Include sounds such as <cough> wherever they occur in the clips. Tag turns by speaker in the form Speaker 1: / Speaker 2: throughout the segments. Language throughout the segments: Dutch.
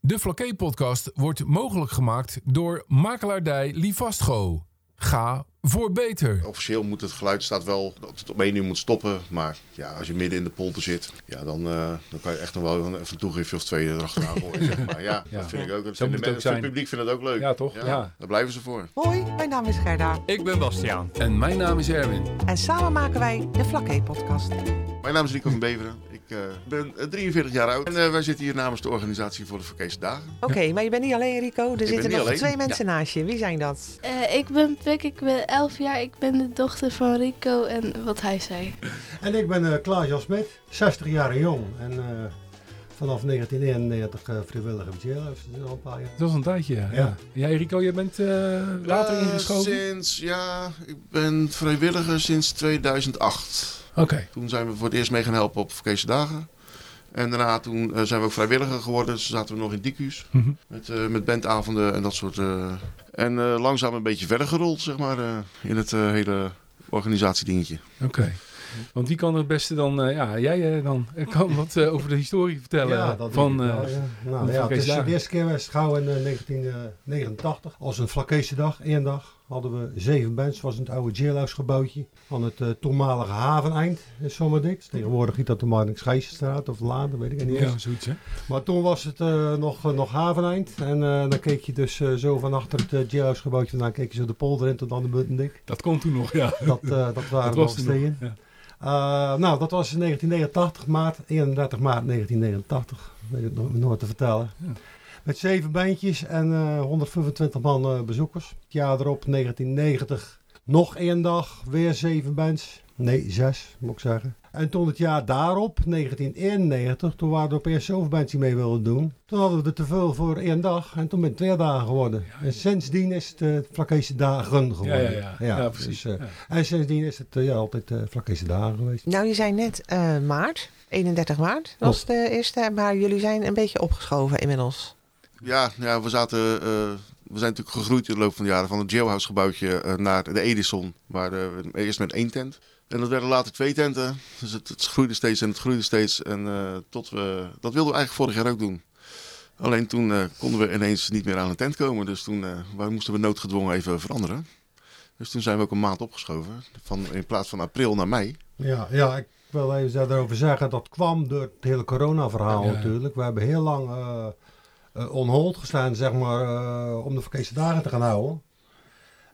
Speaker 1: De Flaké-podcast wordt mogelijk gemaakt door makelaardij Livastgo. Ga voor beter.
Speaker 2: Officieel moet het geluid staat wel dat het op één uur moet stoppen. Maar ja, als je midden in de polder zit, ja, dan, eh, dan kan je echt nog wel een- even een toegiftje of twee erachteraan
Speaker 1: <laughs>
Speaker 2: gooien. zeg maar. ja,
Speaker 1: Ja.
Speaker 2: dat vind ik ook.
Speaker 1: Zo
Speaker 2: Dat vinden
Speaker 1: moet het ook
Speaker 2: mensen,
Speaker 1: zijn.
Speaker 2: het publiek vindt het ook leuk.
Speaker 1: Ja, toch? Ja.
Speaker 2: Daar blijven ze voor.
Speaker 3: Hoi, mijn naam is Gerda
Speaker 4: Ik ben Bastiaan.
Speaker 1: En mijn naam is Erwin.
Speaker 3: en samen maken wij de Vlakke-podcast.
Speaker 2: Mijn naam is Rico van Beveren. Ik eh, ben eh, 43 jaar oud. En eh, wij zitten hier namens de organisatie voor de Verkeerse Dagen.
Speaker 3: Oké, maar je bent niet alleen Rico, er
Speaker 2: ben
Speaker 3: zitten
Speaker 2: niet
Speaker 3: nog
Speaker 2: alleen.
Speaker 3: twee mensen naast je. Wie zijn dat?
Speaker 5: Eh, ik ben Pik, ik ben 11 jaar, ik ben de dochter van Rico en wat hij zei.
Speaker 6: En ik ben eh, Klaas Jasmet, 60 jaar jong en eh, vanaf 1991 eh vrijwilliger bij Jailhouse, dus al een paar jaar.
Speaker 1: Dat was een tijdje, ja.
Speaker 6: Ja.
Speaker 1: Jij Rico, jij bent eh, later
Speaker 2: Eh,
Speaker 1: ingeschoven?
Speaker 2: Sinds, ja, ik ben vrijwilliger sinds 2008.
Speaker 1: Oké.
Speaker 2: Toen zijn we voor het eerst mee gaan helpen op Verkeerse Dagen. En daarna toen, eh, zijn we ook vrijwilliger geworden. Dus zaten we nog in DQ's.
Speaker 1: Mhm.
Speaker 2: Met, eh, met bandavonden en dat soort. eh, en eh, langzaam een beetje verder gerold, zeg maar. eh, in het eh, hele organisatiedingetje.
Speaker 1: Oké. Want die kan het beste dan, eh, ja, jij eh, dan, eh,
Speaker 6: <laughs>
Speaker 1: kan wat eh, over de historie vertellen. van,
Speaker 6: denk ik
Speaker 1: eh,
Speaker 6: wel, ja.
Speaker 1: van
Speaker 6: Nou, ja, het
Speaker 1: Vlakkees
Speaker 6: is de
Speaker 1: Dagen.
Speaker 6: eerste keer was gauw in eh, 1989. Als een Vlakkeese dag, één dag, hadden we zeven bands. was in het oude Jailhouse gebouwtje van het eh, toenmalige haveneind in Sommerdik. Tegenwoordig giet dat de Marnix Gijsstraat of Laan, weet ik niet eens.
Speaker 1: ja, zoiets, hè?
Speaker 6: Maar toen was het eh, nog, nog haveneind. En eh, dan keek je dus eh, zo van achter het uh, Jailhouse gebouwtje vandaan, keek je zo de polder in tot aan de Buttendik.
Speaker 1: Dat kon toen nog, ja.
Speaker 6: Dat, eh, dat
Speaker 1: dat
Speaker 6: waren nog
Speaker 1: was toen
Speaker 6: steden.
Speaker 1: nog, ja.
Speaker 6: Eh, nou, dat was in 1989, maart, 31 maart 1989. Weet ik nog nooit te vertellen.
Speaker 1: Ja.
Speaker 6: Met zeven bandjes en eh, 125 man eh, bezoekers. Het jaar erop, 1990, nog één dag, weer zeven bands. Nee, zes, moet ik zeggen. En toen het jaar daarop, 1991, toen waren er opeens zoveel bands die mee wilden doen. Toen hadden we er te veel voor één dag en toen ben het twee dagen geworden. En sindsdien is het eh Vlakkese dagen
Speaker 1: Ja,
Speaker 6: geworden.
Speaker 1: ja, ja. Ja, precies.
Speaker 6: dus, eh,
Speaker 1: ja.
Speaker 6: en sindsdien is het eh, ja, altijd eh Vlakkese dagen geweest.
Speaker 3: Nou, je zei net eh, maart, 31 maart was
Speaker 2: Oh.
Speaker 6: Klopt.
Speaker 3: de eerste, maar jullie zijn een beetje opgeschoven
Speaker 2: <laughs>
Speaker 3: inmiddels.
Speaker 2: Ja, ja we zaten. eh, we zijn natuurlijk gegroeid in de loop van de jaren van het jailhouse gebouwtje eh, naar de Edison. Waar eh, we eerst met één tent. En dat werden later twee tenten. Dus het, het groeide steeds en het groeide steeds. En eh, tot we, dat wilden we eigenlijk vorig jaar ook doen. Alleen toen eh, konden we ineens niet meer aan een tent komen. Dus toen eh, wij moesten we noodgedwongen even veranderen. Dus toen zijn we ook een maand opgeschoven. Van, in plaats van april naar mei.
Speaker 6: Ja, ja, ik wil even daarover zeggen. Dat kwam door het hele corona-verhaal
Speaker 1: Ja.
Speaker 6: natuurlijk. We hebben heel lang eh eh, on hold gestaan, zeg maar, eh, om de Verkeerse dagen te gaan houden.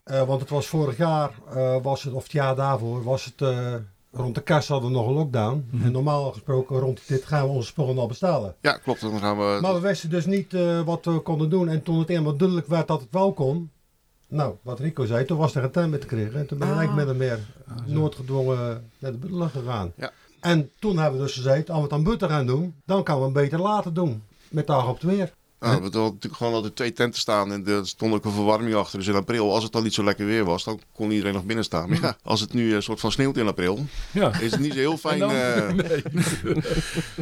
Speaker 6: Eh, want het was vorig jaar, eh, was het, of het jaar daarvoor, was het eh, rond de kerst hadden we nog een lockdown. En normaal gesproken rond dit gaan we onze spullen al bestellen.
Speaker 2: Ja, klopt. Dan gaan we.
Speaker 6: Maar we wisten dus niet eh, wat we konden doen. En toen het eenmaal duidelijk werd dat het wel kon. Nou, wat Rico zei, toen was er een tuin met te krijgen. En toen ben
Speaker 3: Ah.
Speaker 6: ik met hem meer
Speaker 1: zo.
Speaker 6: noodgedwongen naar de buitenland gegaan.
Speaker 2: Ja.
Speaker 6: En toen hebben we dus gezegd, als we het aan buiten gaan doen, dan kan we hem beter later doen. Met dag op het weer.
Speaker 2: Nou, we hadden natuurlijk gewoon altijd twee tenten staan en er stond ook een verwarming achter. Dus in april, als het dan niet zo lekker weer was, dan kon iedereen nog binnen staan. Maar ja, als het nu een soort van sneeuwt in april,
Speaker 1: ja.
Speaker 2: is het niet zo heel
Speaker 1: En
Speaker 2: fijn.
Speaker 1: dan? <laughs>
Speaker 2: eh,
Speaker 1: Nee.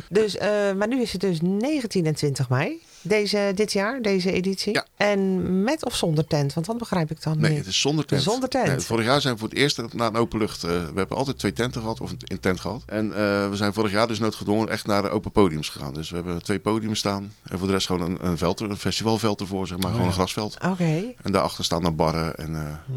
Speaker 3: Dus, eh, maar nu is het dus 19 en 20 mei, deze, dit jaar, deze editie.
Speaker 2: Ja.
Speaker 3: En met of zonder tent, want dat begrijp ik dan
Speaker 2: nee,
Speaker 3: niet.
Speaker 2: het is zonder tent.
Speaker 3: Zonder tent.
Speaker 2: Nee, vorig jaar zijn we voor het eerst naar een open lucht. eh, we hebben altijd twee tenten gehad, of een- een tent gehad. En eh, we zijn vorig jaar dus noodgedwongen echt naar de open podiums gegaan. Dus we hebben twee podiums staan en voor de rest gewoon een, een, veld, er- een festivalveld ervoor, zeg maar. gewoon een grasveld.
Speaker 3: Oké,
Speaker 2: En daarachter staan dan barren en, eh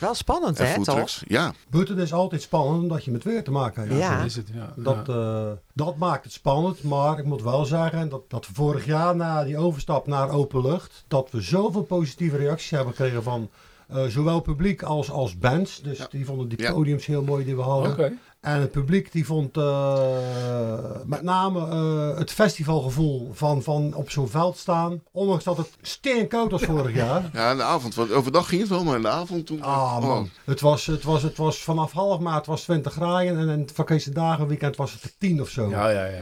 Speaker 3: wel spannend
Speaker 2: en
Speaker 3: hè, toch?
Speaker 2: foodtrucks. Ja,
Speaker 6: Buiten is altijd spannend omdat je met weer te maken hebt.
Speaker 3: Ja.
Speaker 1: Dat is het, ja.
Speaker 6: Dat, eh, dat maakt het spannend, maar ik moet wel zeggen dat, dat we vorig jaar na die overstap naar open lucht, dat we zoveel positieve reacties hebben gekregen van eh, zowel publiek als, als bands. Dus
Speaker 2: Ja.
Speaker 6: die vonden die
Speaker 2: Ja.
Speaker 6: podiums heel mooi die we
Speaker 1: Oké.
Speaker 6: hadden. En het publiek die vond eh, met name eh, het festivalgevoel van, van op zo'n veld staan, ondanks dat het steenkoud was vorig jaar.
Speaker 2: ja, in de avond. Want overdag ging het wel, maar in de avond toen...
Speaker 6: Ah man,
Speaker 2: Oh.
Speaker 6: het, was, het, was, het was vanaf half maart was 20 graden en in het vakantie dagen weekend was het 10 of zo.
Speaker 1: Ja, ja, ja.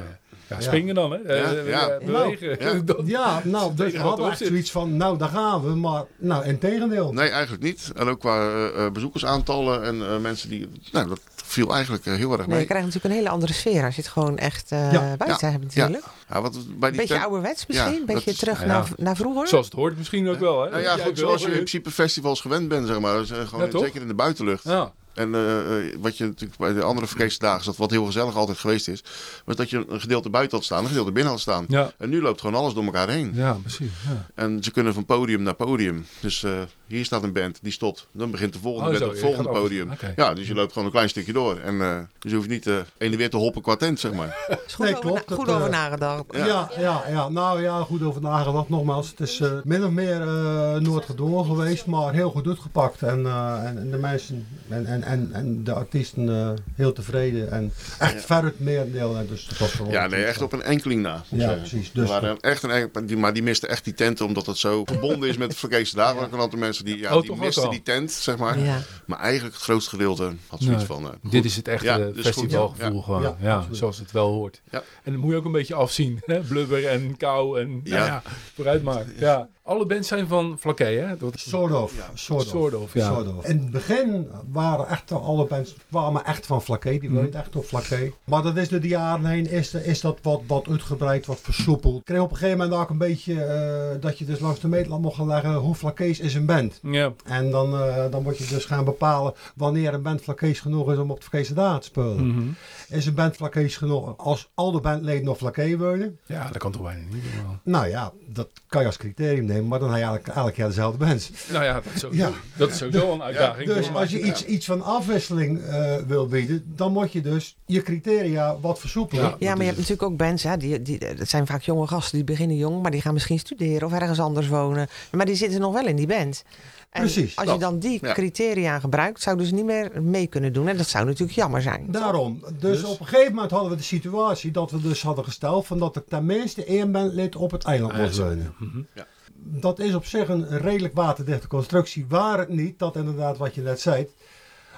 Speaker 1: Ja, springen dan, hè? Eh,
Speaker 2: ja.
Speaker 1: eh, Bewegen. <laughs>
Speaker 2: Ja.
Speaker 1: Dat-
Speaker 6: Ja, nou, dus we
Speaker 1: Tegen wat
Speaker 6: hadden
Speaker 1: op
Speaker 6: echt
Speaker 1: zit.
Speaker 6: zoiets van, nou, daar gaan we, maar, nou, in tegendeel.
Speaker 2: Nee, eigenlijk niet. En ook qua eh, eh, bezoekersaantallen en eh, mensen die... Nou, dat viel eigenlijk eh, heel erg
Speaker 3: Nee,
Speaker 2: mee.
Speaker 3: je krijgt natuurlijk een hele andere sfeer als je het gewoon echt eh,
Speaker 6: Ja.
Speaker 3: buiten hebt natuurlijk.
Speaker 2: ja, wat we bij
Speaker 3: Een
Speaker 2: die
Speaker 3: beetje
Speaker 2: tent-
Speaker 3: ouderwets misschien,
Speaker 2: Ja,
Speaker 3: een beetje
Speaker 2: dat is-
Speaker 3: terug
Speaker 1: ja.
Speaker 3: naar, naar vroeger.
Speaker 1: Zoals het hoort misschien ook wel, hè?
Speaker 2: Nou ja,
Speaker 1: Jij
Speaker 2: goed,
Speaker 1: wel,
Speaker 2: zoals je
Speaker 1: eh,
Speaker 2: in principe festivals gewend bent, zeg maar. Dus, eh, gewoon
Speaker 1: Ja, toch?
Speaker 2: zeker in de buitenlucht.
Speaker 1: Ja.
Speaker 2: En eh, eh, wat je natuurlijk bij de andere verkeersdagen zat, wat heel gezellig altijd geweest is, was dat je een gedeelte buiten had staan, een gedeelte binnen had staan.
Speaker 1: Ja,
Speaker 2: En nu loopt gewoon alles door elkaar heen.
Speaker 1: ja precies. Ja.
Speaker 2: En ze kunnen van podium naar podium. Dus eh, hier staat een band, die stopt. Dan begint de volgende
Speaker 1: Oh,
Speaker 2: band
Speaker 1: zo,
Speaker 2: op het
Speaker 1: je
Speaker 2: volgende
Speaker 1: gaat over.
Speaker 2: podium.
Speaker 1: Oké.
Speaker 2: Ja, dus je loopt gewoon een klein stukje door. En eh, dus je hoeft niet eh heen en weer te hoppen qua tent, zeg maar.
Speaker 3: Is goed
Speaker 6: Nee,
Speaker 3: over,
Speaker 6: klopt,
Speaker 3: na-
Speaker 6: dat,
Speaker 3: goed
Speaker 6: eh,
Speaker 3: over nagedacht.
Speaker 2: Ja.
Speaker 6: Ja. Ja, ja, nou ja, goed over nagedacht. Nogmaals, het is eh, min of meer eh Noord-Gedwongen geweest, maar heel goed uitgepakt. En, eh, en, en de mensen en, en, en, en de artiesten eh, heel tevreden. En echt veruit merendeel. En dus dat was gewoon-
Speaker 2: Ja, nee, echt op een enkeling na. moet ik
Speaker 6: Ja,
Speaker 2: zeggen.
Speaker 6: precies. Dus
Speaker 2: Er waren echt een enkel- die- maar die misten echt die tenten, omdat het zo verbonden is met de verkeerde dagen. Er waren een aantal mensen die, ja,
Speaker 1: Oh,
Speaker 2: die
Speaker 1: toch ook
Speaker 2: misten
Speaker 1: al.
Speaker 2: die tent, zeg maar.
Speaker 3: Ja.
Speaker 2: Maar eigenlijk het grootste gedeelte had zoiets
Speaker 1: Nee.
Speaker 2: van... eh, goed.
Speaker 1: Dit is het echte
Speaker 2: Ja, dit is goed.
Speaker 1: festivalgevoel
Speaker 2: Ja.
Speaker 1: gewoon.
Speaker 6: Ja,
Speaker 1: dus Ja,
Speaker 6: absoluut.
Speaker 1: zoals het wel hoort.
Speaker 2: Ja.
Speaker 1: En dat moet je ook een beetje afzien. Hè? Blubber en kou en nou
Speaker 2: Ja.
Speaker 1: ja. vooruit maar. Ja. Alle bands zijn van Flaké, hè? Dat is
Speaker 6: Sort of. Sort of.
Speaker 1: Sort of, ja.
Speaker 6: Sort of. In het begin waren echt alle bands kwamen echt van Flaké. Die
Speaker 1: Mhm.
Speaker 6: woont echt op Flaké. Maar dat is door de jaren heen is, de- is dat wat, wat uitgebreid, wat versoepeld. Ik kreeg op een gegeven moment ook een beetje eh, dat je dus langs de meetlat mocht gaan leggen hoe Flakees is een band.
Speaker 1: Ja.
Speaker 6: En dan, eh, dan moet je dus gaan bepalen wanneer een band Flakees genoeg is om op de Flakees dagen te spelen.
Speaker 1: Mhm.
Speaker 6: Is een band Flakees genoeg als al de bandleden nog Flaké worden?
Speaker 1: ja, dat kan toch bijna niet normaal.
Speaker 6: Nou ja, dat kan je als criterium nemen, maar dan heb je eigenlijk elk jaar dezelfde bands.
Speaker 1: Nou ja, dat is sowieso,
Speaker 6: Ja.
Speaker 1: dat is sowieso een uitdaging.
Speaker 6: Dus
Speaker 1: toch?
Speaker 6: als je iets, iets van afwisseling eh, wil bieden, dan moet je dus je criteria wat versoepelen.
Speaker 1: Ja.
Speaker 3: Ja, maar je hebt natuurlijk ook bands, hè, die, die, dat zijn vaak jonge gasten, die beginnen jong, maar die gaan misschien studeren of ergens anders wonen. Maar die zitten nog wel in die band. En
Speaker 6: Precies,
Speaker 3: Als je
Speaker 2: dat.
Speaker 3: dan die
Speaker 2: Ja.
Speaker 3: criteria gebruikt, zouden ze niet meer mee kunnen doen. En dat zou natuurlijk jammer zijn.
Speaker 6: Daarom. Dus, op een gegeven moment hadden we de situatie dat we dus hadden gesteld van dat er tenminste één bandlid op het eiland moest wonen.
Speaker 2: Ja.
Speaker 6: Dat is op zich een redelijk waterdichte constructie. Waar het niet, dat inderdaad wat je net zei,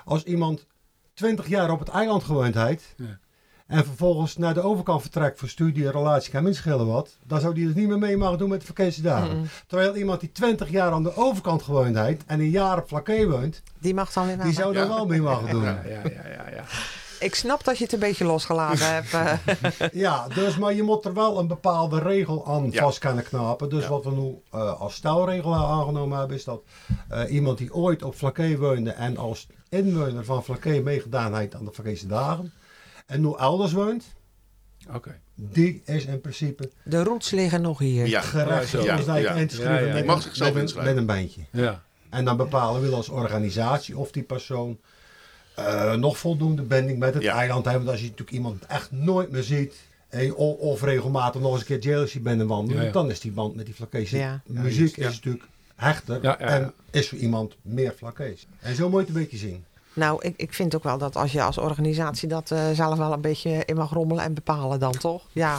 Speaker 6: als iemand 20 jaar op het eiland gewoond heeft
Speaker 1: Ja.
Speaker 6: en vervolgens naar de overkant vertrekt voor studie, relatie, kan minschillen wat, dan zou die dus niet meer mee mogen doen met de vakantiedagen.
Speaker 3: Mm.
Speaker 6: Terwijl iemand die 20 jaar aan de overkant gewoond heeft en een jaar op Flaké woont,
Speaker 3: Die mag dan weer
Speaker 6: die
Speaker 3: naar.
Speaker 6: zou dan
Speaker 2: Ja.
Speaker 6: wel mee mogen doen.
Speaker 1: Ja, ja, ja, ja, ja.
Speaker 3: Ik snap dat je het een beetje
Speaker 2: <laughs>
Speaker 3: losgelaten hebt. eh.
Speaker 6: Ja, dus, maar je moet er wel een bepaalde regel aan
Speaker 2: Ja.
Speaker 6: vast kunnen knapen. Dus wat we nu eh, als stelregel aangenomen hebben, is dat eh, iemand die ooit op Flaké woonde en als inwoner van Flaké meegedaan heeft aan de Flakeese dagen, en nu elders woont,
Speaker 1: Oké.
Speaker 6: die is in principe
Speaker 3: De roots liggen nog hier.
Speaker 2: Ja.
Speaker 6: gerecht
Speaker 1: Ja,
Speaker 6: om
Speaker 1: zo.
Speaker 6: zijn
Speaker 2: Ja, ja.
Speaker 6: in te schrijven
Speaker 1: Ja, ja, ja.
Speaker 6: met
Speaker 1: Die mag
Speaker 6: een-
Speaker 2: zichzelf
Speaker 6: met een-
Speaker 2: inschrijven.
Speaker 6: met een bandje.
Speaker 1: Ja.
Speaker 6: En dan bepalen we als organisatie of die persoon eh, nog voldoende binding met het
Speaker 2: Ja.
Speaker 6: eiland heeft. Want als je natuurlijk iemand echt nooit meer ziet. eh, o- of regelmatig nog eens een keer jealousy bent wandelen.
Speaker 1: Ja, ja.
Speaker 6: Dan is die band met die Flakese
Speaker 3: Ja.
Speaker 1: Ja,
Speaker 6: muziek
Speaker 1: juist, ja.
Speaker 6: is natuurlijk hechter.
Speaker 1: Ja, ja, ja.
Speaker 6: En is voor iemand meer Flakees. En zo moet je het een beetje zien.
Speaker 3: Nou, ik, ik vind ook wel dat als je als organisatie dat eh, zelf wel een beetje in mag rommelen en bepalen dan, toch? Ja.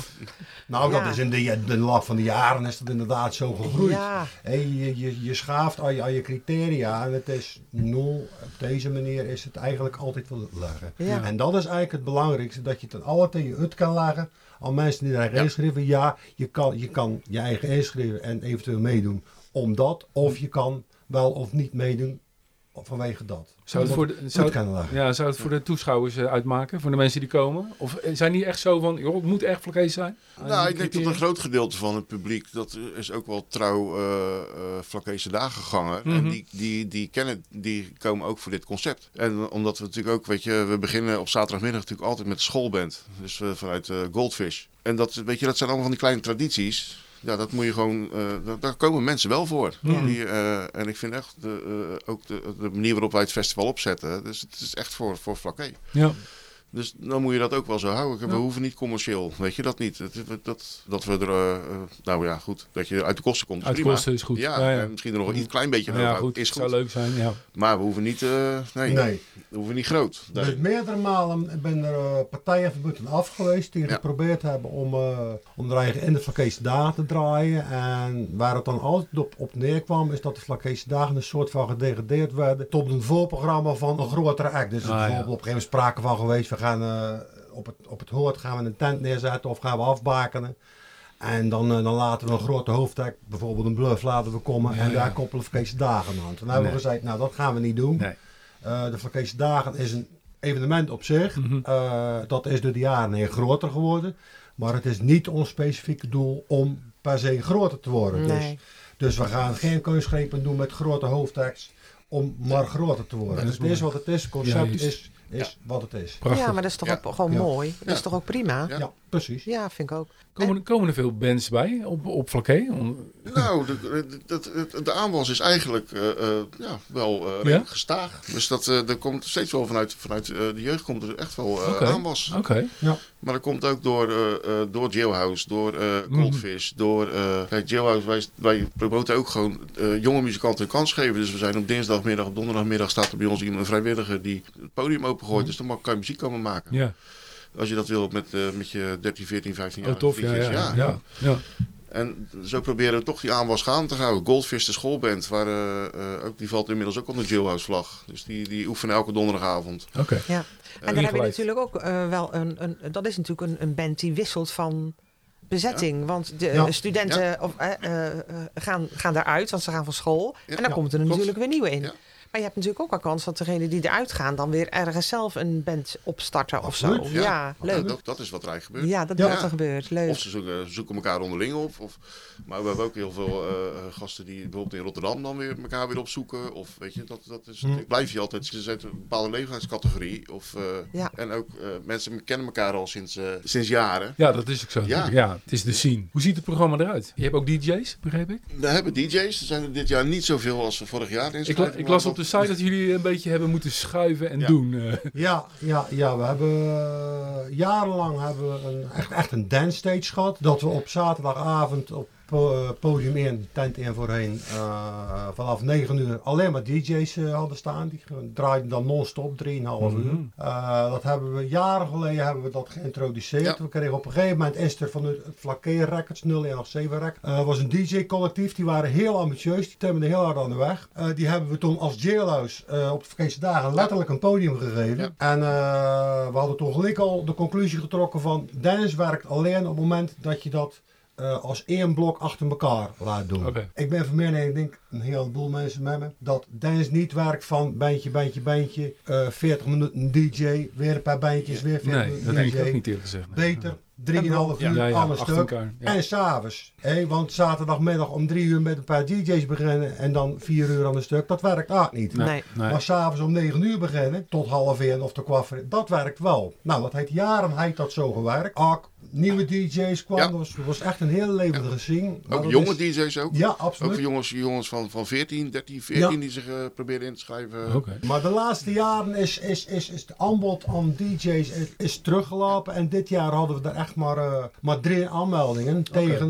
Speaker 6: Nou,
Speaker 3: Ja.
Speaker 6: dat is in de, de loop van de jaren is dat inderdaad zo gegroeid.
Speaker 3: Ja.
Speaker 6: Hé, je, je, je schaaft aan je, aan je criteria en het is nul. Op deze manier is het eigenlijk altijd wel leggen.
Speaker 3: Ja.
Speaker 6: En dat is eigenlijk het belangrijkste, dat je ten alle tegen je uit kan leggen aan mensen die daar
Speaker 2: Ja.
Speaker 6: inschrijven. Ja, je kan, je kan je eigen inschrijven en eventueel meedoen omdat, of je kan wel of niet meedoen vanwege dat.
Speaker 1: Zou het, voor de, zou,
Speaker 6: kunnen leggen.
Speaker 1: ja, zou het voor de toeschouwers eh, uitmaken? Voor de mensen die komen? Of eh, zijn die echt zo van, joh, het moet echt Flakees zijn?
Speaker 2: Nou, ik denk dat een groot gedeelte van het publiek, dat is ook wel trouw eh eh, Flakkese dagenganger. En
Speaker 1: Mhm.
Speaker 2: die, die, die kennen, die komen ook voor dit concept. En omdat we natuurlijk ook, weet je, we beginnen op zaterdagmiddag natuurlijk altijd met de schoolband. Dus eh, vanuit eh, Goldfish. En dat, weet je, dat zijn allemaal van die kleine tradities. Ja, dat moet je gewoon, eh, daar, daar komen mensen wel voor.
Speaker 1: Ja.
Speaker 2: Die, eh, en ik vind echt de, eh, ook de, de manier waarop wij het festival opzetten, dus het is echt voor, voor Flakke.
Speaker 1: Ja.
Speaker 2: Dus dan moet je dat ook wel zo houden. We
Speaker 1: Ja.
Speaker 2: hoeven niet commercieel, weet je dat niet? Dat, dat, dat we er, eh, eh, nou ja, goed, dat je uit de kosten komt. is
Speaker 1: Uit
Speaker 2: prima.
Speaker 1: kosten is goed.
Speaker 2: Ja,
Speaker 1: Ja, ja.
Speaker 2: en misschien er nog een klein beetje
Speaker 1: Nou
Speaker 2: van
Speaker 1: ja,
Speaker 2: overhoudt,
Speaker 1: goed,
Speaker 2: is
Speaker 1: het zou
Speaker 2: goed.
Speaker 1: leuk zijn, ja.
Speaker 2: Maar we hoeven niet, eh, nee,
Speaker 6: Nee.
Speaker 2: we hoeven niet groot. Nee.
Speaker 6: Dus meerdere malen ben er eh, partijen van buiten af geweest die
Speaker 2: Ja.
Speaker 6: geprobeerd hebben om, eh om er eigen in de Flakkeese dagen te draaien. En waar het dan altijd op, op neerkwam is dat de Flakkeese dagen een soort van gedegradeerd werden tot een voorprogramma van een grotere act. Dus er is
Speaker 1: Ah, ja.
Speaker 6: bijvoorbeeld op een gegeven moment sprake van geweest, we gaan eh, op, het, op het hoort gaan we een tent neerzetten of gaan we afbakenen. En dan, eh, dan laten we een grote hoofdact, bijvoorbeeld een bluff, laten we komen
Speaker 1: Ja,
Speaker 6: en daar
Speaker 1: ja.
Speaker 6: koppelen Flakkeese dagen aan. Toen hebben we
Speaker 1: Nee.
Speaker 6: gezegd, nou dat gaan we niet doen.
Speaker 1: Nee.
Speaker 6: Eh, de Flakeese Dagen is een evenement op zich.
Speaker 1: Mhm.
Speaker 6: Eh, dat is door de jaren heen groter geworden. Maar het is niet ons specifieke doel om per se groter te worden. Dus,
Speaker 3: Nee.
Speaker 6: dus we gaan geen kunstgrepen doen met grote hoofdtekst. om Margrote te worden. Dus
Speaker 1: Dat is
Speaker 6: het is wat het is, concept
Speaker 1: Juist.
Speaker 6: is, is wat het is.
Speaker 1: Prachtig.
Speaker 3: Ja, maar dat is toch
Speaker 2: Ja.
Speaker 3: ook gewoon
Speaker 6: Ja.
Speaker 3: mooi. Dat is toch ook prima?
Speaker 2: Ja.
Speaker 6: Ja, precies.
Speaker 3: Ja, vind ik ook.
Speaker 1: komen, er- komen er veel bands bij op, op Vlakke? Om-
Speaker 2: Nou, de, de, de, de aanwas is eigenlijk eh, eh, ja, wel eh, redelijk
Speaker 1: Ja?
Speaker 2: gestaag. Dus dat, eh er komt steeds wel vanuit, vanuit eh, de jeugd komt er echt wel eh,
Speaker 1: Oké.
Speaker 2: aanwas.
Speaker 1: Oké.
Speaker 2: Maar dat komt ook door, eh eh door Jailhouse, door eh
Speaker 1: Mhm.
Speaker 2: Goldfish, door... eh kijk, Jailhouse, wij, wij promoten ook gewoon eh, jonge muzikanten een kans geven. Dus we zijn op dinsdagmiddag, op donderdagmiddag staat er bij ons iemand, een vrijwilliger die het podium opengooit.
Speaker 1: Mhm.
Speaker 2: Dus dan mag- kan je muziek komen maken.
Speaker 1: Ja.
Speaker 2: Als je dat wil met, eh, met je 13, 14, 15 jaar.
Speaker 1: Oh, tof. Ja, ja, ja. ja. ja.
Speaker 2: En zo proberen we toch die aanwas gaande te houden. Goldfish, de schoolband, waar, eh, eh, ook, die valt inmiddels ook onder de Jailhouse-vlag. Dus die, die oefenen elke donderdagavond.
Speaker 1: Oké.
Speaker 3: Ja. En dan heb je
Speaker 1: ingeleid.
Speaker 3: natuurlijk ook eh, wel een, een. Dat is natuurlijk een, een band die wisselt van bezetting. Want de eh,
Speaker 6: Ja.
Speaker 3: studenten Of, eh, eh, eh, gaan, gaan daaruit, want ze gaan van school.
Speaker 2: Ja.
Speaker 3: En dan
Speaker 2: Ja,
Speaker 3: komt er
Speaker 2: klopt.
Speaker 3: natuurlijk weer nieuwe in.
Speaker 2: Ja.
Speaker 3: Maar je hebt natuurlijk ook wel kans dat degenen die eruit gaan, dan weer ergens zelf een band opstarten of zo.
Speaker 6: Absoluut,
Speaker 3: Ja,
Speaker 2: Ja,
Speaker 3: leuk.
Speaker 2: dat, dat is wat er eigenlijk gebeurt.
Speaker 3: Ja, dat
Speaker 6: Ja.
Speaker 3: is wat er gebeurt.
Speaker 2: Of
Speaker 3: Leuk.
Speaker 2: ze zoeken, zoeken elkaar onderling op. Of, maar we hebben ook heel veel eh, gasten die bijvoorbeeld in Rotterdam dan weer elkaar weer opzoeken. Of weet je, dat, dat is,
Speaker 1: Hm.
Speaker 2: ik blijf je altijd. Ze zijn uit een bepaalde leeftijdscategorie. Of, eh,
Speaker 3: Ja.
Speaker 2: En ook eh, mensen kennen elkaar al sinds, eh, sinds jaren.
Speaker 1: Ja, dat is ook zo. Ja.
Speaker 2: Ja.
Speaker 1: het is de scene. Hoe ziet het programma eruit? Je hebt ook DJ's, begreep ik?
Speaker 2: We hebben DJ's. Er zijn er dit jaar niet zoveel als we vorig jaar.
Speaker 1: Ik, la- ik las op de site dat jullie een beetje hebben moeten schuiven en
Speaker 2: Ja.
Speaker 1: doen. eh.
Speaker 6: Ja, ja, ja, we hebben eh, jarenlang hebben we een, echt, echt een dance stage gehad. Dat we op zaterdagavond op po- eh, podium 1, tent 1 voorheen, eh, vanaf 9 uur alleen maar DJ's eh, hadden staan. Die ge- draaiden dan non-stop, 3,5 uur.
Speaker 1: Mhm.
Speaker 6: Eh, dat hebben we jaren geleden hebben we dat geïntroduceerd.
Speaker 2: Ja.
Speaker 6: We kregen op een gegeven moment is er van het Flakeer Records, 0107 Records. Eh was een DJ-collectief, die waren heel ambitieus, die temden heel hard aan de weg. Eh, die hebben we toen als jailhouse eh, op de verkeerde dagen letterlijk een podium gegeven. En eh, we hadden toen gelijk al de conclusie getrokken van dance werkt alleen op het moment dat je dat eh, als één blok achter elkaar laat doen.
Speaker 1: Oké.
Speaker 6: Ik ben van mening, ik denk een heleboel mensen met me, dat dance niet werkt van bandje, bandje, bandje, eh 40 minuten DJ, weer een paar bandjes, weer 40
Speaker 1: nee, dat
Speaker 6: minuten
Speaker 1: denk
Speaker 6: DJ.
Speaker 1: ik ook niet eerlijk gezegd. nee.
Speaker 6: Beter, 3,5
Speaker 1: Ja,
Speaker 6: uur,
Speaker 1: ja,
Speaker 6: alles
Speaker 1: achter
Speaker 6: stuk.
Speaker 1: elkaar, ja.
Speaker 6: En s'avonds, hè, want zaterdagmiddag om 3 uur met een paar DJ's beginnen en dan 4 uur aan een stuk, dat werkt ook niet.
Speaker 1: Nee.
Speaker 3: Nee.
Speaker 1: nee.
Speaker 6: Maar s'avonds om 9 uur beginnen, tot half 1 of te kwart dat werkt wel. Nou, dat heeft jaren heeft dat zo gewerkt. Ook nieuwe DJ's kwamen,
Speaker 2: Ja.
Speaker 6: dat was, was echt een heel levendige scene. Maar
Speaker 2: Ook
Speaker 6: dat
Speaker 2: jonge
Speaker 6: is-
Speaker 2: DJ's ook.
Speaker 6: Ja,
Speaker 2: Ook
Speaker 6: absoluut.
Speaker 2: jongens, jongens van, van 14, 13, 14
Speaker 6: Ja.
Speaker 2: die zich eh, proberen in te schrijven.
Speaker 1: Oké.
Speaker 6: Maar de laatste jaren is, is, is, is het aanbod aan DJ's is, is teruggelopen. En dit jaar hadden we er echt maar, eh, maar drie aanmeldingen tegen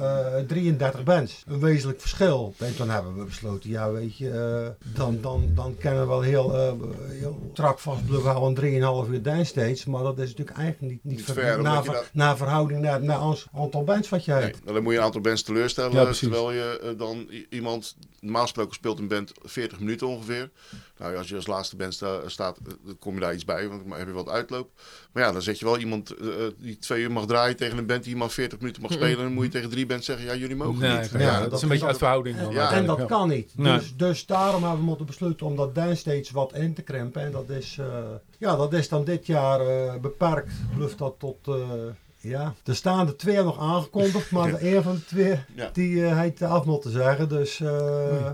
Speaker 6: eh, eh, 33 bands. Een wezenlijk verschil. En toen hebben we besloten, ja weet je, eh, dan, dan, dan kennen we wel heel, eh heel strak vast blijven houden aan 3,5 uur dance steeds. Maar dat is natuurlijk eigenlijk niet, niet,
Speaker 2: Niet
Speaker 6: ver-
Speaker 2: fair, omdat
Speaker 6: na,
Speaker 2: je
Speaker 6: ver-
Speaker 2: dat-
Speaker 6: na verhouding naar, naar ons aantal bands wat je
Speaker 2: Nee,
Speaker 6: hebt.
Speaker 2: nou, dan moet je een aantal bands teleurstellen.
Speaker 1: Ja, precies.
Speaker 2: terwijl je eh, dan i- iemand, normaal gesproken speelt een band 40 minuten ongeveer. Nou, ja, als je als laatste band sta- staat, eh, dan kom je daar iets bij, want dan heb je wat uitloop. Maar ja, dan zet je wel iemand eh, eh, die twee uur mag draaien tegen een band die maar 40 minuten mag spelen. En dan moet je tegen drie bands zeggen, ja, jullie mogen
Speaker 1: Mm. Nee,
Speaker 2: niet.
Speaker 1: oké,
Speaker 6: Ja,
Speaker 1: ja, dat,
Speaker 6: dat
Speaker 1: is een
Speaker 6: is
Speaker 1: beetje
Speaker 6: dat-
Speaker 1: uit verhouding. dan
Speaker 2: Ja,
Speaker 6: en
Speaker 1: uiteindelijk,
Speaker 6: dat kan niet.
Speaker 1: Nee.
Speaker 6: Dus, dus daarom hebben we moeten besluiten om dat dance steeds wat in te krimpen. En dat is, eh, ja, dat is dan dit jaar eh, beperkt. Bluft dat tot. eh, ja, er staan er twee nog aangekondigd, maar de een van de twee
Speaker 2: Ja.
Speaker 6: die eh, heet af moet te zeggen. Dus eh,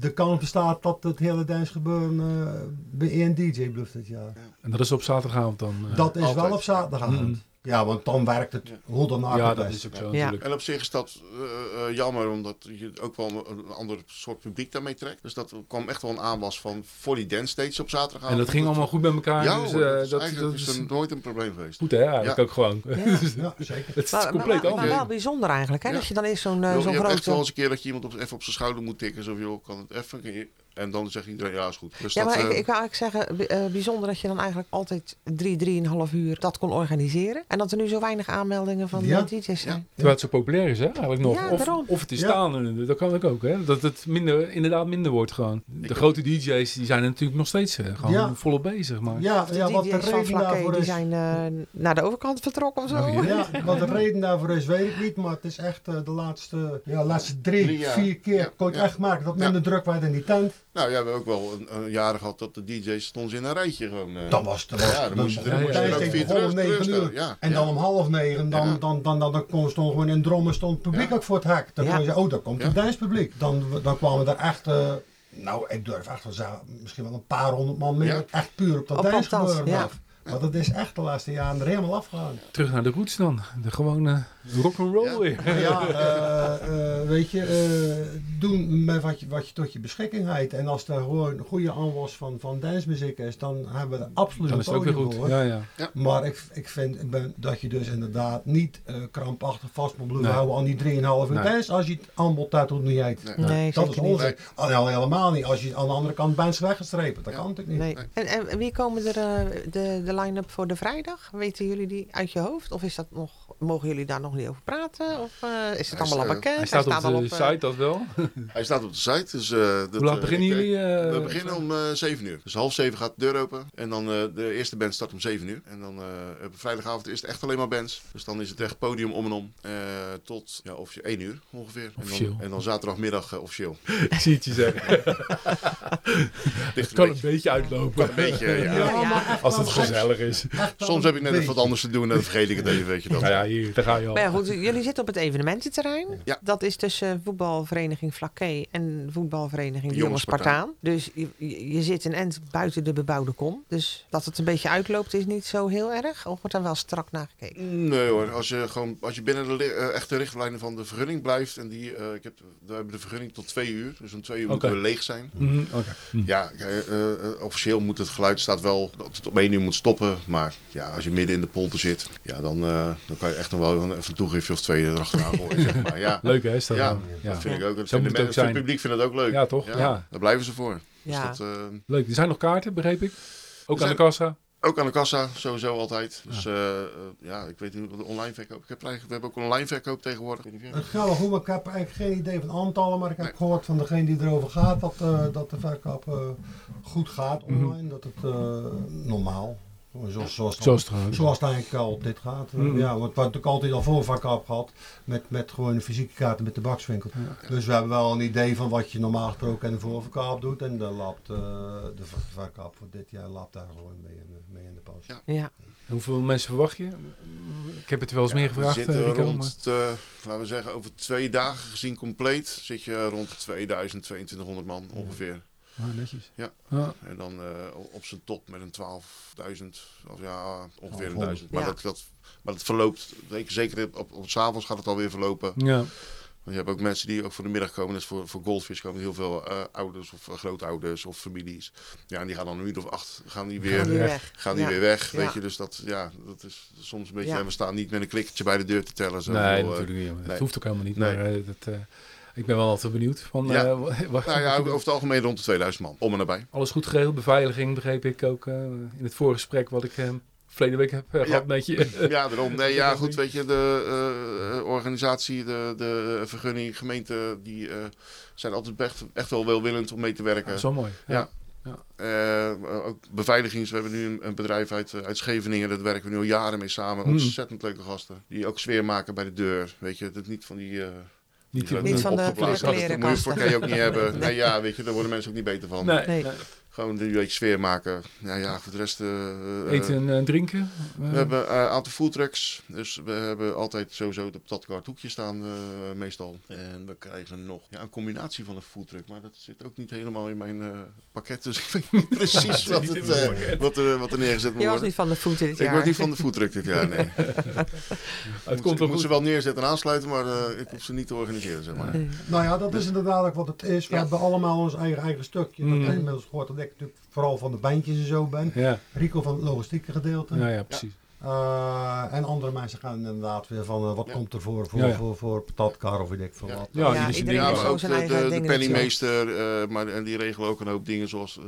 Speaker 6: de kans bestaat dat het hele dance gebeuren eh, bij één DJ bluft dit jaar.
Speaker 1: En dat is op zaterdagavond dan. eh,
Speaker 6: dat is
Speaker 2: altijd.
Speaker 6: wel op zaterdagavond.
Speaker 1: Mm.
Speaker 6: Ja, want dan werkt het hoe dan ook
Speaker 1: ja,
Speaker 6: het
Speaker 1: dat
Speaker 6: best.
Speaker 1: is ook zo
Speaker 3: Ja.
Speaker 1: natuurlijk.
Speaker 2: En op zich is dat eh, eh, jammer, omdat je ook wel een, een ander soort publiek daarmee trekt. Dus dat kwam echt wel een aanwas van voor die dance states op zaterdag.
Speaker 1: En dat ging allemaal goed met elkaar.
Speaker 2: Ja,
Speaker 1: dus,
Speaker 2: hoor,
Speaker 1: eh,
Speaker 2: dat is,
Speaker 1: dat, dat
Speaker 2: eigenlijk
Speaker 1: is
Speaker 2: is er nooit een probleem geweest.
Speaker 1: goed hè, eigenlijk
Speaker 2: Ja.
Speaker 1: ook gewoon.
Speaker 6: Ja, zeker.
Speaker 1: <laughs> Het is
Speaker 3: Maar, maar-
Speaker 1: compleet
Speaker 3: maar- maar
Speaker 1: anders.
Speaker 3: wel bijzonder eigenlijk, hè?
Speaker 2: Ja.
Speaker 3: Dat je dan eerst zo'n eh,
Speaker 2: Joh,
Speaker 3: zo'n
Speaker 2: je hebt echt wel
Speaker 3: grote...
Speaker 2: eens een keer dat je iemand op, even op zijn schouder moet tikken. Zo van, joh, kan het even? Kun je- En dan zegt iedereen, ja, is goed. Dus
Speaker 3: Ja,
Speaker 2: dat,
Speaker 3: maar ik,
Speaker 2: eh,
Speaker 3: ik wou eigenlijk zeggen, bi- eh, bijzonder dat je dan eigenlijk altijd drie, drieënhalf uur dat kon organiseren. En dat er nu zo weinig aanmeldingen van
Speaker 6: Ja.
Speaker 3: eh, DJ's zijn.
Speaker 1: Terwijl het zo populair is hè, eigenlijk nog.
Speaker 3: Ja, daarom.
Speaker 1: of, of het is
Speaker 6: Ja.
Speaker 1: staande, dat kan ik ook hè. Dat het minder, inderdaad minder wordt gewoon. De grote DJ's die zijn er natuurlijk nog steeds eh, gewoon
Speaker 6: Ja.
Speaker 1: volop bezig. Maar...
Speaker 6: Ja,
Speaker 3: De
Speaker 6: ja, wat de
Speaker 3: DJ's van
Speaker 6: reden
Speaker 3: Vlakke,
Speaker 6: daarvoor
Speaker 3: die
Speaker 6: is.
Speaker 3: zijn eh, naar de overkant vertrokken of zo.
Speaker 1: Nou, hier.
Speaker 6: Ja, wat de reden daarvoor is, weet ik niet. Maar het is echt eh, de laatste, ja, laatste drie,
Speaker 2: Drie jaar.
Speaker 6: vier keer
Speaker 2: Ja,
Speaker 6: kon je
Speaker 2: ja.
Speaker 6: echt maken dat minder druk werd in die tent.
Speaker 2: Nou, ja, we hebben ook wel een, een jaren gehad dat de DJ's stonden ze in een rijtje gewoon. eh.
Speaker 6: Dat was te
Speaker 2: Ja, dan moest je, dan
Speaker 1: Ja,
Speaker 2: moest je
Speaker 1: ja,
Speaker 2: er
Speaker 1: ja.
Speaker 2: ook vier
Speaker 6: Begon om
Speaker 2: terug,
Speaker 6: negen
Speaker 2: terug
Speaker 6: uur.
Speaker 2: Ja,
Speaker 6: En
Speaker 2: ja.
Speaker 6: dan om half negen,
Speaker 2: Ja.
Speaker 6: dan, dan, dan, dan, dan kon- stond gewoon in drommen stond het publiek
Speaker 2: Ja.
Speaker 6: ook voor het hek. Dan
Speaker 3: Ja.
Speaker 6: kon je zeggen, oh, daar komt
Speaker 2: Ja.
Speaker 6: het danspubliek. Dan, dan kwamen er echt eh, nou, ik durf echt wel te zeggen, misschien wel een paar honderd man meer.
Speaker 2: Ja.
Speaker 6: Echt puur op dat
Speaker 3: Op- op
Speaker 6: dans
Speaker 3: dans,
Speaker 6: gebeuren
Speaker 3: ja.
Speaker 6: af. Maar dat is echt de laatste jaren er helemaal afgegaan.
Speaker 1: Terug naar de roots dan. De gewone eh, rock'n'roll
Speaker 2: Ja.
Speaker 1: weer.
Speaker 6: Maar Nou ja, eh, eh, weet je, eh, doen met wat je, wat je tot je beschikking hebt. En als er gewoon een goede aanwas van, van dancemuziek is, dan hebben we er absoluut
Speaker 1: Dan
Speaker 6: een
Speaker 1: is het ook weer
Speaker 6: podium
Speaker 1: goed.
Speaker 6: voor.
Speaker 1: Ja, ja.
Speaker 6: Maar ik, ik vind ik ben, dat je dus inderdaad niet eh, krampachtig vast moet blijven
Speaker 1: Nee.
Speaker 6: houden aan die 3,5 uur
Speaker 1: Nee.
Speaker 6: dans als je het aanbod daartoe niet hebt.
Speaker 2: Nee.
Speaker 3: Nee,
Speaker 6: Dat is
Speaker 3: zeker niet.
Speaker 6: onzin. Al- al helemaal niet. Als je aan de andere kant bent weggestrepen, dat
Speaker 2: Ja.
Speaker 6: kan natuurlijk niet.
Speaker 3: Nee. En, en wie komen er eh, de, de line-up voor de vrijdag? Weten jullie die uit je hoofd? Of is dat nog, mogen jullie daar nog niet over praten? Of eh, is
Speaker 2: Hij
Speaker 3: het allemaal al
Speaker 2: staat-
Speaker 3: bekend?
Speaker 1: Hij staat op de
Speaker 3: al eh,
Speaker 1: site, dat wel.
Speaker 2: Hij staat op de site. Dus, eh, dat,
Speaker 1: Hoe laat
Speaker 2: eh,
Speaker 1: beginnen
Speaker 2: ik-
Speaker 1: jullie? eh,
Speaker 2: We beginnen om eh 7 uur. Dus half 7 gaat de deur open. En dan eh, de eerste band start om 7 uur. En dan eh, op vrijdagavond is het echt alleen maar bands. Dus dan is het echt podium om en om. eh, tot ja, officieel 1 uur ongeveer. En
Speaker 1: Officieel.
Speaker 2: dan, en dan zaterdagmiddag eh, officieel.
Speaker 1: <laughs> Ik zie het je zeggen.
Speaker 2: Ligt
Speaker 1: Het
Speaker 2: een
Speaker 1: kan een
Speaker 2: beetje.
Speaker 1: beetje uitlopen. <laughs>
Speaker 2: Een beetje, ja.
Speaker 3: Ja, ja.
Speaker 6: maar echt
Speaker 1: Als
Speaker 6: wel
Speaker 1: het
Speaker 6: echt-
Speaker 1: gezellig
Speaker 2: <laughs>
Speaker 1: is.
Speaker 6: echt wel
Speaker 2: Soms
Speaker 6: een
Speaker 2: heb ik net even
Speaker 6: beetje.
Speaker 2: wat anders te doen en dan vergeet ik het even, weet je dat.
Speaker 1: Nou ja, hier, daar ga je
Speaker 3: Maar ja,
Speaker 1: al.
Speaker 3: goed, jullie zitten op het evenemententerrein.
Speaker 2: Ja.
Speaker 3: Dat is tussen voetbalvereniging Flaké en voetbalvereniging de Jonge
Speaker 2: Jonge
Speaker 3: Spartaan. Dus je, je- je zit een end buiten de bebouwde kom. Dus dat het een beetje uitloopt is niet zo heel erg. Of wordt daar wel strak naar gekeken?
Speaker 2: Nee hoor, als je, gewoon, als je binnen de li- eh, echte richtlijnen van de vergunning blijft. En die, eh, ik heb, we hebben de vergunning tot 2 uur. Dus om 2 uur moeten
Speaker 1: Oké.
Speaker 2: we leeg zijn.
Speaker 1: Mhm, Oké.
Speaker 2: Ja, eh, eh, eh, officieel moet het geluid staat wel dat het op één uur moet stoppen. Maar ja, als je midden in de polder zit, ja, dan, eh, dan kan je echt nog wel een- even een toegiftje of twee erachteraan
Speaker 1: <laughs>
Speaker 2: gooien. zeg maar. ja,
Speaker 1: Leuk hè, is dat
Speaker 2: Ja,
Speaker 1: dan?
Speaker 2: dat vind ik ook.
Speaker 1: Zo
Speaker 2: Dat vinden
Speaker 1: moet het ook
Speaker 2: mensen-
Speaker 1: zijn.
Speaker 2: Het publiek vindt het ook leuk.
Speaker 1: Ja, toch? Ja.
Speaker 2: Daar blijven ze voor.
Speaker 3: Ja.
Speaker 2: Dus dat, eh,
Speaker 1: Leuk. Er zijn nog kaarten, begreep ik. Ook aan
Speaker 2: zijn-
Speaker 1: de kassa.
Speaker 2: ook aan de kassa, sowieso altijd. Dus eh, eh, ja, ik weet niet hoe de online verkoop. Ik heb eigenlijk, we hebben ook online verkoop tegenwoordig. Ik weet niet of jij-
Speaker 6: Het gaat wel goed, maar ik heb eigenlijk geen idee van aantallen. Maar ik heb gehoord van degene die erover gaat dat, eh, dat de verkoop eh, goed gaat online. Dat het eh, normaal, zoals, zoals,
Speaker 1: Zo is het gewoon.
Speaker 6: zoals het eigenlijk al dit gaat. Eh,
Speaker 1: Mhm.
Speaker 6: Ja, want we hebben natuurlijk altijd al voor verkoop gehad met, met gewoon de fysieke kaarten met de bakswinkel. Dus we hebben wel een idee van wat je normaal gesproken in de voorverkoop doet. En de, lapt, eh, de ver- verkoop voor dit jaar lapt daar gewoon mee in, de- mee in de pas.
Speaker 2: Ja.
Speaker 3: Ja.
Speaker 1: Hoeveel mensen verwacht je? Ik heb het wel eens meer
Speaker 2: We
Speaker 1: gevraagd. eh,
Speaker 2: zitten
Speaker 1: Rico, maar-
Speaker 2: rond, eh, laten we zeggen, over twee dagen gezien compleet, zit je rond 2000, 2200 man ongeveer.
Speaker 1: Ah, netjes.
Speaker 2: Ja.
Speaker 1: Ah,
Speaker 2: En dan eh, op zijn top met een 12.000, of ja, ongeveer een
Speaker 6: 1200.
Speaker 2: 1000. Maar,
Speaker 3: Ja.
Speaker 2: dat, dat, maar dat verloopt, zeker- zeker op, op, op s'avonds gaat het alweer verlopen.
Speaker 1: ja.
Speaker 2: Want je hebt ook mensen die ook voor de middag komen, dus voor, voor goldfish komen heel veel eh, ouders of eh, grootouders of families. Ja, en die gaan dan een uur of acht, gaan die weer,
Speaker 3: Gaan
Speaker 2: gaan
Speaker 3: die
Speaker 2: die,
Speaker 3: weg. Ja.
Speaker 2: weer weg,
Speaker 3: Ja.
Speaker 2: weet je. Dus dat, ja, dat is soms een beetje,
Speaker 3: Ja.
Speaker 2: en we staan niet met een klikkertje bij de deur te tellen. Zo
Speaker 1: Nee,
Speaker 2: veel, eh,
Speaker 1: natuurlijk niet. maar Dat
Speaker 2: nee.
Speaker 1: hoeft ook helemaal niet.
Speaker 2: Nee.
Speaker 1: Maar eh, dat, eh, ik ben wel altijd benieuwd. Van,
Speaker 2: Ja.
Speaker 1: eh, <laughs> wa- wa-
Speaker 2: Nou ja, over het algemeen rond de 2000 man. Om en nabij.
Speaker 1: Alles goed geregeld. Beveiliging begreep ik ook eh, in het voorgesprek wat ik eh, verleden week heb eh, gehad met je.
Speaker 2: Ja, daarom. Nee, ja, goed, weet je, de eh, eh, organisatie, de, de vergunning, gemeente, die eh, zijn altijd echt, echt wel welwillend om mee te werken.
Speaker 1: Zo mooi.
Speaker 2: Ja. Eh, ook beveiligings. We hebben nu een, een bedrijf uit, eh, uit Scheveningen. Daar werken we nu al jaren mee samen.
Speaker 1: Hmm.
Speaker 2: Ontzettend leuke gasten. Die ook sfeer maken bij de deur. Weet je, dat niet van die... eh,
Speaker 1: Niet,
Speaker 2: die
Speaker 3: Niet van de
Speaker 2: opgeblazen-
Speaker 3: kleren-
Speaker 2: Dat moet je
Speaker 3: klerenkasten.
Speaker 2: voor kan je ook niet hebben. Nee, ja, weet je, daar worden mensen ook niet beter van.
Speaker 1: Nee,
Speaker 3: Nee.
Speaker 1: nee.
Speaker 2: Gewoon een beetje sfeer maken. Ja, ja, voor de rest... eh, eh,
Speaker 1: Eten en eh, drinken. eh,
Speaker 2: We hebben eh, een aantal foodtrucks, dus we hebben altijd sowieso op dat kwart hoekje staan eh, meestal. En we krijgen nog ja, een combinatie van een foodtruck, maar dat zit ook niet helemaal in mijn eh, pakket. Dus <laughs> ik weet niet precies wat,
Speaker 1: Niet in
Speaker 2: het,
Speaker 1: mijn
Speaker 2: eh,
Speaker 1: pakket.
Speaker 2: wat, er, wat er neergezet moet
Speaker 3: Je was
Speaker 2: worden.
Speaker 3: niet van de voet dit jaar.
Speaker 2: Ik word niet van de foodtruck dit jaar, nee.
Speaker 1: <laughs> het
Speaker 2: Ik moet,
Speaker 1: komt
Speaker 2: ik
Speaker 1: wel
Speaker 2: moet
Speaker 1: goed.
Speaker 2: ze wel neerzetten en aansluiten, maar eh, ik hoef ze niet te organiseren, zeg maar.
Speaker 6: Nou ja, dat is inderdaad ook wat het is. We
Speaker 2: Ja.
Speaker 6: hebben allemaal ons eigen, eigen stukje. Dat
Speaker 1: Mm.
Speaker 6: heb je inmiddels gehoord dat ik natuurlijk vooral van de bandjes en zo ben.
Speaker 1: Ja.
Speaker 6: Rico van het logistieke gedeelte.
Speaker 1: Nou ja, precies.
Speaker 6: Eh, en andere mensen gaan inderdaad weer van eh, wat
Speaker 2: Ja.
Speaker 6: komt er voor, voor,
Speaker 1: Ja, ja.
Speaker 6: voor, voor patatkar of weet ik veel
Speaker 2: Ja.
Speaker 6: wat.
Speaker 1: Ja,
Speaker 3: Ja,
Speaker 1: die is
Speaker 3: iedereen
Speaker 1: die
Speaker 2: Ja,
Speaker 3: heeft
Speaker 1: dingen.
Speaker 2: maar
Speaker 3: zo
Speaker 2: ook
Speaker 3: zijn
Speaker 2: de,
Speaker 3: eigen
Speaker 2: de, de
Speaker 3: dingetje.
Speaker 2: penningmeester, eh, maar, en die regelen ook een hoop dingen zoals eh,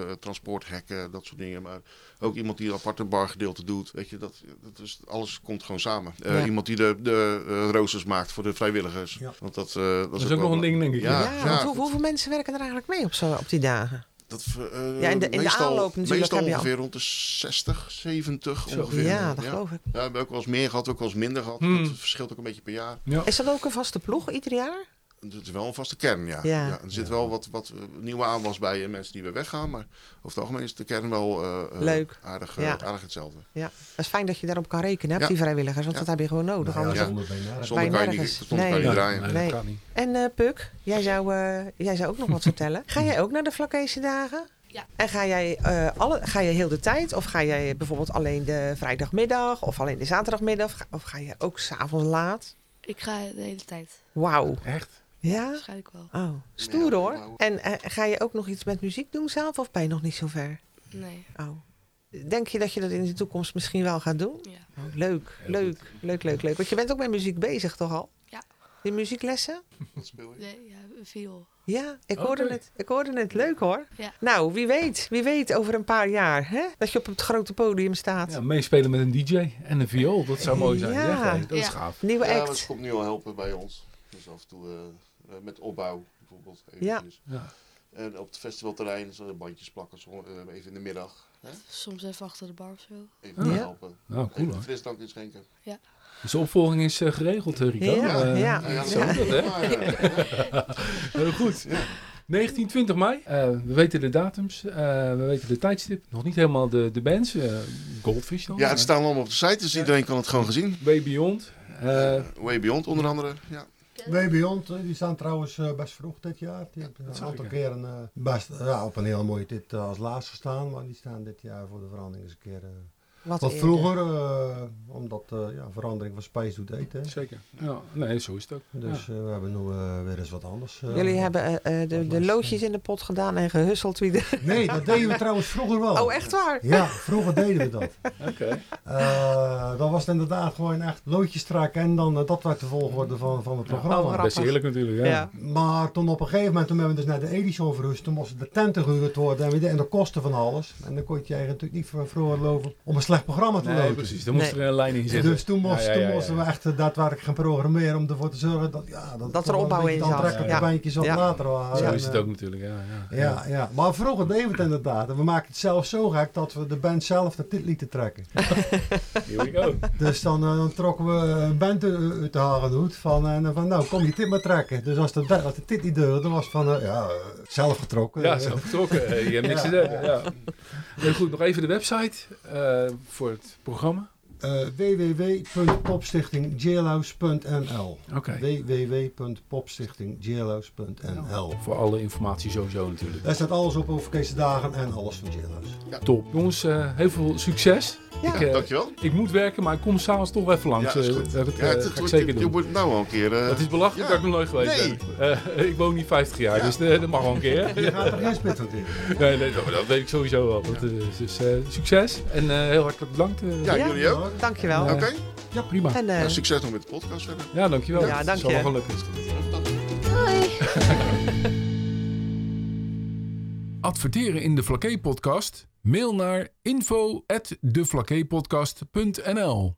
Speaker 2: eh, transporthekken, dat soort dingen. Maar ook iemand die een aparte bargedeelte doet, weet je, dat, dat is, alles komt gewoon samen. Eh,
Speaker 3: Ja.
Speaker 2: Iemand die de, de eh, roosters maakt voor de vrijwilligers.
Speaker 6: Ja.
Speaker 2: Want dat, eh, dat,
Speaker 1: Dat is ook nog
Speaker 2: wel-
Speaker 1: een ding, denk ik.
Speaker 2: Ja,
Speaker 3: Ja, want
Speaker 2: ja,
Speaker 3: hoe- hoeveel mensen werken er eigenlijk mee op, zo, op die dagen?
Speaker 2: Dat, eh,
Speaker 3: Ja, in de- in de
Speaker 2: meestal,
Speaker 3: aanloop natuurlijk
Speaker 2: Meestal
Speaker 3: heb je al-
Speaker 2: ongeveer rond de 60, 70
Speaker 1: Zo.
Speaker 2: ongeveer.
Speaker 3: ja, dat geloof ik.
Speaker 2: Ja, we hebben ook wel eens meer gehad, ook wel eens minder gehad.
Speaker 1: Hmm.
Speaker 2: Dat verschilt ook een beetje per jaar.
Speaker 1: Ja.
Speaker 3: Is dat ook een vaste ploeg ieder jaar?
Speaker 2: Het is wel een vaste kern, ja.
Speaker 3: Ja.
Speaker 2: er zit wel wat, wat eh, nieuwe aanwas bij eh, mensen die weer weggaan. Maar over het algemeen is de kern wel eh, eh,
Speaker 3: Leuk.
Speaker 2: Aardig, eh,
Speaker 3: Ja.
Speaker 2: aardig hetzelfde.
Speaker 3: Ja, dat is fijn dat je daarop kan rekenen, hè, op
Speaker 2: Ja.
Speaker 3: die vrijwilligers. Want
Speaker 2: Ja.
Speaker 3: dat heb je gewoon nodig.
Speaker 6: Nou ja,
Speaker 3: anders
Speaker 2: ja.
Speaker 3: dan-
Speaker 6: zonder benen.
Speaker 2: Zonder
Speaker 3: Bij
Speaker 2: kan je niet,
Speaker 3: nergens.
Speaker 2: zonder kan je
Speaker 3: Nee.
Speaker 2: niet draaien.
Speaker 3: Nee.
Speaker 1: dat kan niet.
Speaker 3: En eh, Puk, jij zou, eh, jij zou ook nog wat vertellen. Ga jij ook naar de Vlakkese dagen?
Speaker 5: Ja.
Speaker 3: En ga jij, eh, alle, ga jij heel de tijd? Of ga jij bijvoorbeeld alleen de vrijdagmiddag? Of alleen de zaterdagmiddag? Of ga, of ga je ook s'avonds laat?
Speaker 5: Ik ga de hele tijd.
Speaker 3: Wauw.
Speaker 1: Echt?
Speaker 3: Ja?
Speaker 5: Waarschijnlijk wel.
Speaker 3: Oh, stoer
Speaker 2: Ja,
Speaker 3: hoor.
Speaker 2: wauw.
Speaker 3: En eh, ga je ook nog iets met muziek doen zelf? Of ben je nog niet zo ver?
Speaker 5: Nee.
Speaker 3: Oh. Denk je dat je dat in de toekomst misschien wel gaat doen?
Speaker 5: Ja.
Speaker 3: Oh, leuk, leuk, leuk, leuk, leuk. Want je bent ook met muziek bezig toch al?
Speaker 5: Ja.
Speaker 3: Die muzieklessen?
Speaker 2: Wat speel je?
Speaker 5: Nee, ja, viool.
Speaker 3: Ja, ik
Speaker 1: Oké.
Speaker 3: hoorde het. Ik hoorde het. Leuk hoor.
Speaker 5: Ja.
Speaker 3: Nou, wie weet. Wie weet over een paar jaar hè? dat je op het grote podium staat.
Speaker 1: Ja, meespelen met een DJ en een viool. Dat zou mooi zijn. Ja,
Speaker 3: Ja.
Speaker 1: hé, dat is
Speaker 5: Ja.
Speaker 1: gaaf.
Speaker 3: Nieuwe
Speaker 2: Ja, dat
Speaker 3: act.
Speaker 2: komt nu al helpen bij ons. Dus af en toe eh, met opbouw bijvoorbeeld.
Speaker 3: Ja.
Speaker 2: eventjes.
Speaker 1: Ja.
Speaker 2: En op het festivalterrein, zo bandjes plakken, zo, eh, even in de middag.
Speaker 5: Soms even achter de bar of zo.
Speaker 2: Even
Speaker 3: Ja.
Speaker 2: helpen.
Speaker 1: Nou, cool
Speaker 2: Even een
Speaker 1: hoor.
Speaker 2: frisdrank inschenken.
Speaker 1: Dus de opvolging is eh, geregeld, eh, Rico.
Speaker 3: Ja,
Speaker 1: Eh,
Speaker 3: ja.
Speaker 2: Nou ja,
Speaker 1: Zo moet dat, hè?
Speaker 2: maar, eh,
Speaker 1: Heel goed. 19, 20 mei. Eh, we weten de datums. eh, we weten de tijdstip. Nog niet helemaal de, de bands. eh, Goldfish dan.
Speaker 2: Ja, het staan allemaal op de site, dus iedereen kan het gewoon gezien.
Speaker 1: Eh, Way Beyond. eh,
Speaker 2: Way Beyond onder andere. Ja.
Speaker 6: Way Beyond, eh, die staan trouwens eh, best vroeg dit jaar. Die hebben
Speaker 1: dat
Speaker 6: een
Speaker 1: zag
Speaker 6: aantal
Speaker 1: ik,
Speaker 6: keer een, eh, best, ja, op een hele mooie dit eh, als laatste gestaan. Maar die staan dit jaar voor de verandering eens een keer... eh,
Speaker 3: Wat,
Speaker 6: wat
Speaker 3: eerder.
Speaker 6: vroeger, eh, omdat eh, ja, verandering van spijs doet eten. hè.
Speaker 1: zeker. Ja, nee, zo is het ook.
Speaker 6: Dus
Speaker 1: Ja.
Speaker 6: eh, we hebben nu eh, weer eens wat anders. eh.
Speaker 3: Jullie hebben eh, eh, de, de loodjes in de pot gedaan en gehusseld wie de...
Speaker 6: Nee, dat deden we trouwens vroeger wel.
Speaker 3: Oh, echt waar?
Speaker 6: Ja, vroeger deden we dat.
Speaker 1: Oké.
Speaker 6: Eh, dat was het inderdaad gewoon echt loodjes trekken en dan eh, dat werd de volgorde van, van het programma.
Speaker 3: oh,
Speaker 1: Best
Speaker 3: Grappig.
Speaker 1: heerlijk natuurlijk. Ja.
Speaker 3: Ja.
Speaker 6: Maar toen op een gegeven moment, toen hebben we dus naar de Edison verhuisd. Toen moesten de tenten gehuurd worden en, weer de- en de kosten van alles. En dan kon je je eigen natuurlijk niet van vroeger lopen om een slecht programma te
Speaker 1: Nee,
Speaker 6: lopen.
Speaker 1: precies. Daar moest
Speaker 3: Nee.
Speaker 1: er een lijn in zitten.
Speaker 6: Dus toen, moest,
Speaker 1: Ja, ja, ja,
Speaker 6: toen
Speaker 1: ja.
Speaker 6: moesten we echt eh, daadwerkelijk gaan programmeren om ervoor te zorgen dat, ja, dat,
Speaker 3: er opbouw in zat.
Speaker 6: aantrekkelijke
Speaker 3: Ja.
Speaker 6: bandjes wat
Speaker 3: Ja.
Speaker 6: later waren.
Speaker 1: Zo
Speaker 6: En,
Speaker 1: is het
Speaker 6: eh,
Speaker 1: ook natuurlijk. Ja, ja.
Speaker 6: Ja, ja, maar vroeger deden we het inderdaad. En we maakten het zelf zo gek dat we de band zelf de tit lieten trekken.
Speaker 1: Here we go.
Speaker 6: Dus dan, eh, dan trokken we een band u- uit de harenhoed van, en dan van nou kom je tit maar trekken. Dus als de, ba- als de tit niet deugde, dan was het van eh, ja, eh, zelf getrokken. <laughs>
Speaker 1: Ja, zo vertrokken. Eh, Je hebt niks
Speaker 6: Ja,
Speaker 1: te zeggen. Ja. Heel goed, nog even de website eh, voor het programma.
Speaker 6: Eh, www.popstichtingjailhouse.nl
Speaker 1: Oké.
Speaker 6: www.popstichtingjailhouse.nl
Speaker 1: Voor alle informatie sowieso natuurlijk.
Speaker 6: Daar staat alles op over deze dagen en alles van Jailhouse.
Speaker 1: Top. Jongens, eh, heel veel succes.
Speaker 3: Ja.
Speaker 1: Ik, eh,
Speaker 2: Dankjewel.
Speaker 1: ik moet werken, maar ik kom s'avonds toch even langs.
Speaker 2: Ja, is
Speaker 1: Eh,
Speaker 2: goed.
Speaker 1: dat eh,
Speaker 2: Ja, het-
Speaker 1: ga ik
Speaker 2: het-
Speaker 1: zeker
Speaker 2: je- Je
Speaker 1: doen.
Speaker 2: wordt nou al een keer... eh,
Speaker 1: Het is belachelijk
Speaker 2: ja.
Speaker 1: dat ik nog nooit geweest
Speaker 2: Nee.
Speaker 1: ben. Eh, <laughs> ik woon niet 50 jaar, dus eh, dat mag wel een keer.
Speaker 2: <laughs>
Speaker 6: Je gaat er geen spit van tegen.
Speaker 1: nee, nee, dat, dat weet ik sowieso wel. Dat, eh, dus eh, succes en eh, heel hartelijk bedankt. eh.
Speaker 2: Ja,
Speaker 3: Ja.
Speaker 2: jullie ook.
Speaker 3: Dankjewel.
Speaker 1: Ja.
Speaker 2: Oké.
Speaker 1: ja, prima.
Speaker 3: En eh,
Speaker 2: Nou, succes nog met de podcast verder.
Speaker 1: Ja, dankjewel.
Speaker 3: Ja, dank
Speaker 1: Het zal
Speaker 3: je.
Speaker 1: wel gaan lukken.
Speaker 5: Hoi!
Speaker 1: Adverteren in de Flakey podcast? Mail naar info@deflakeepodcast.nl.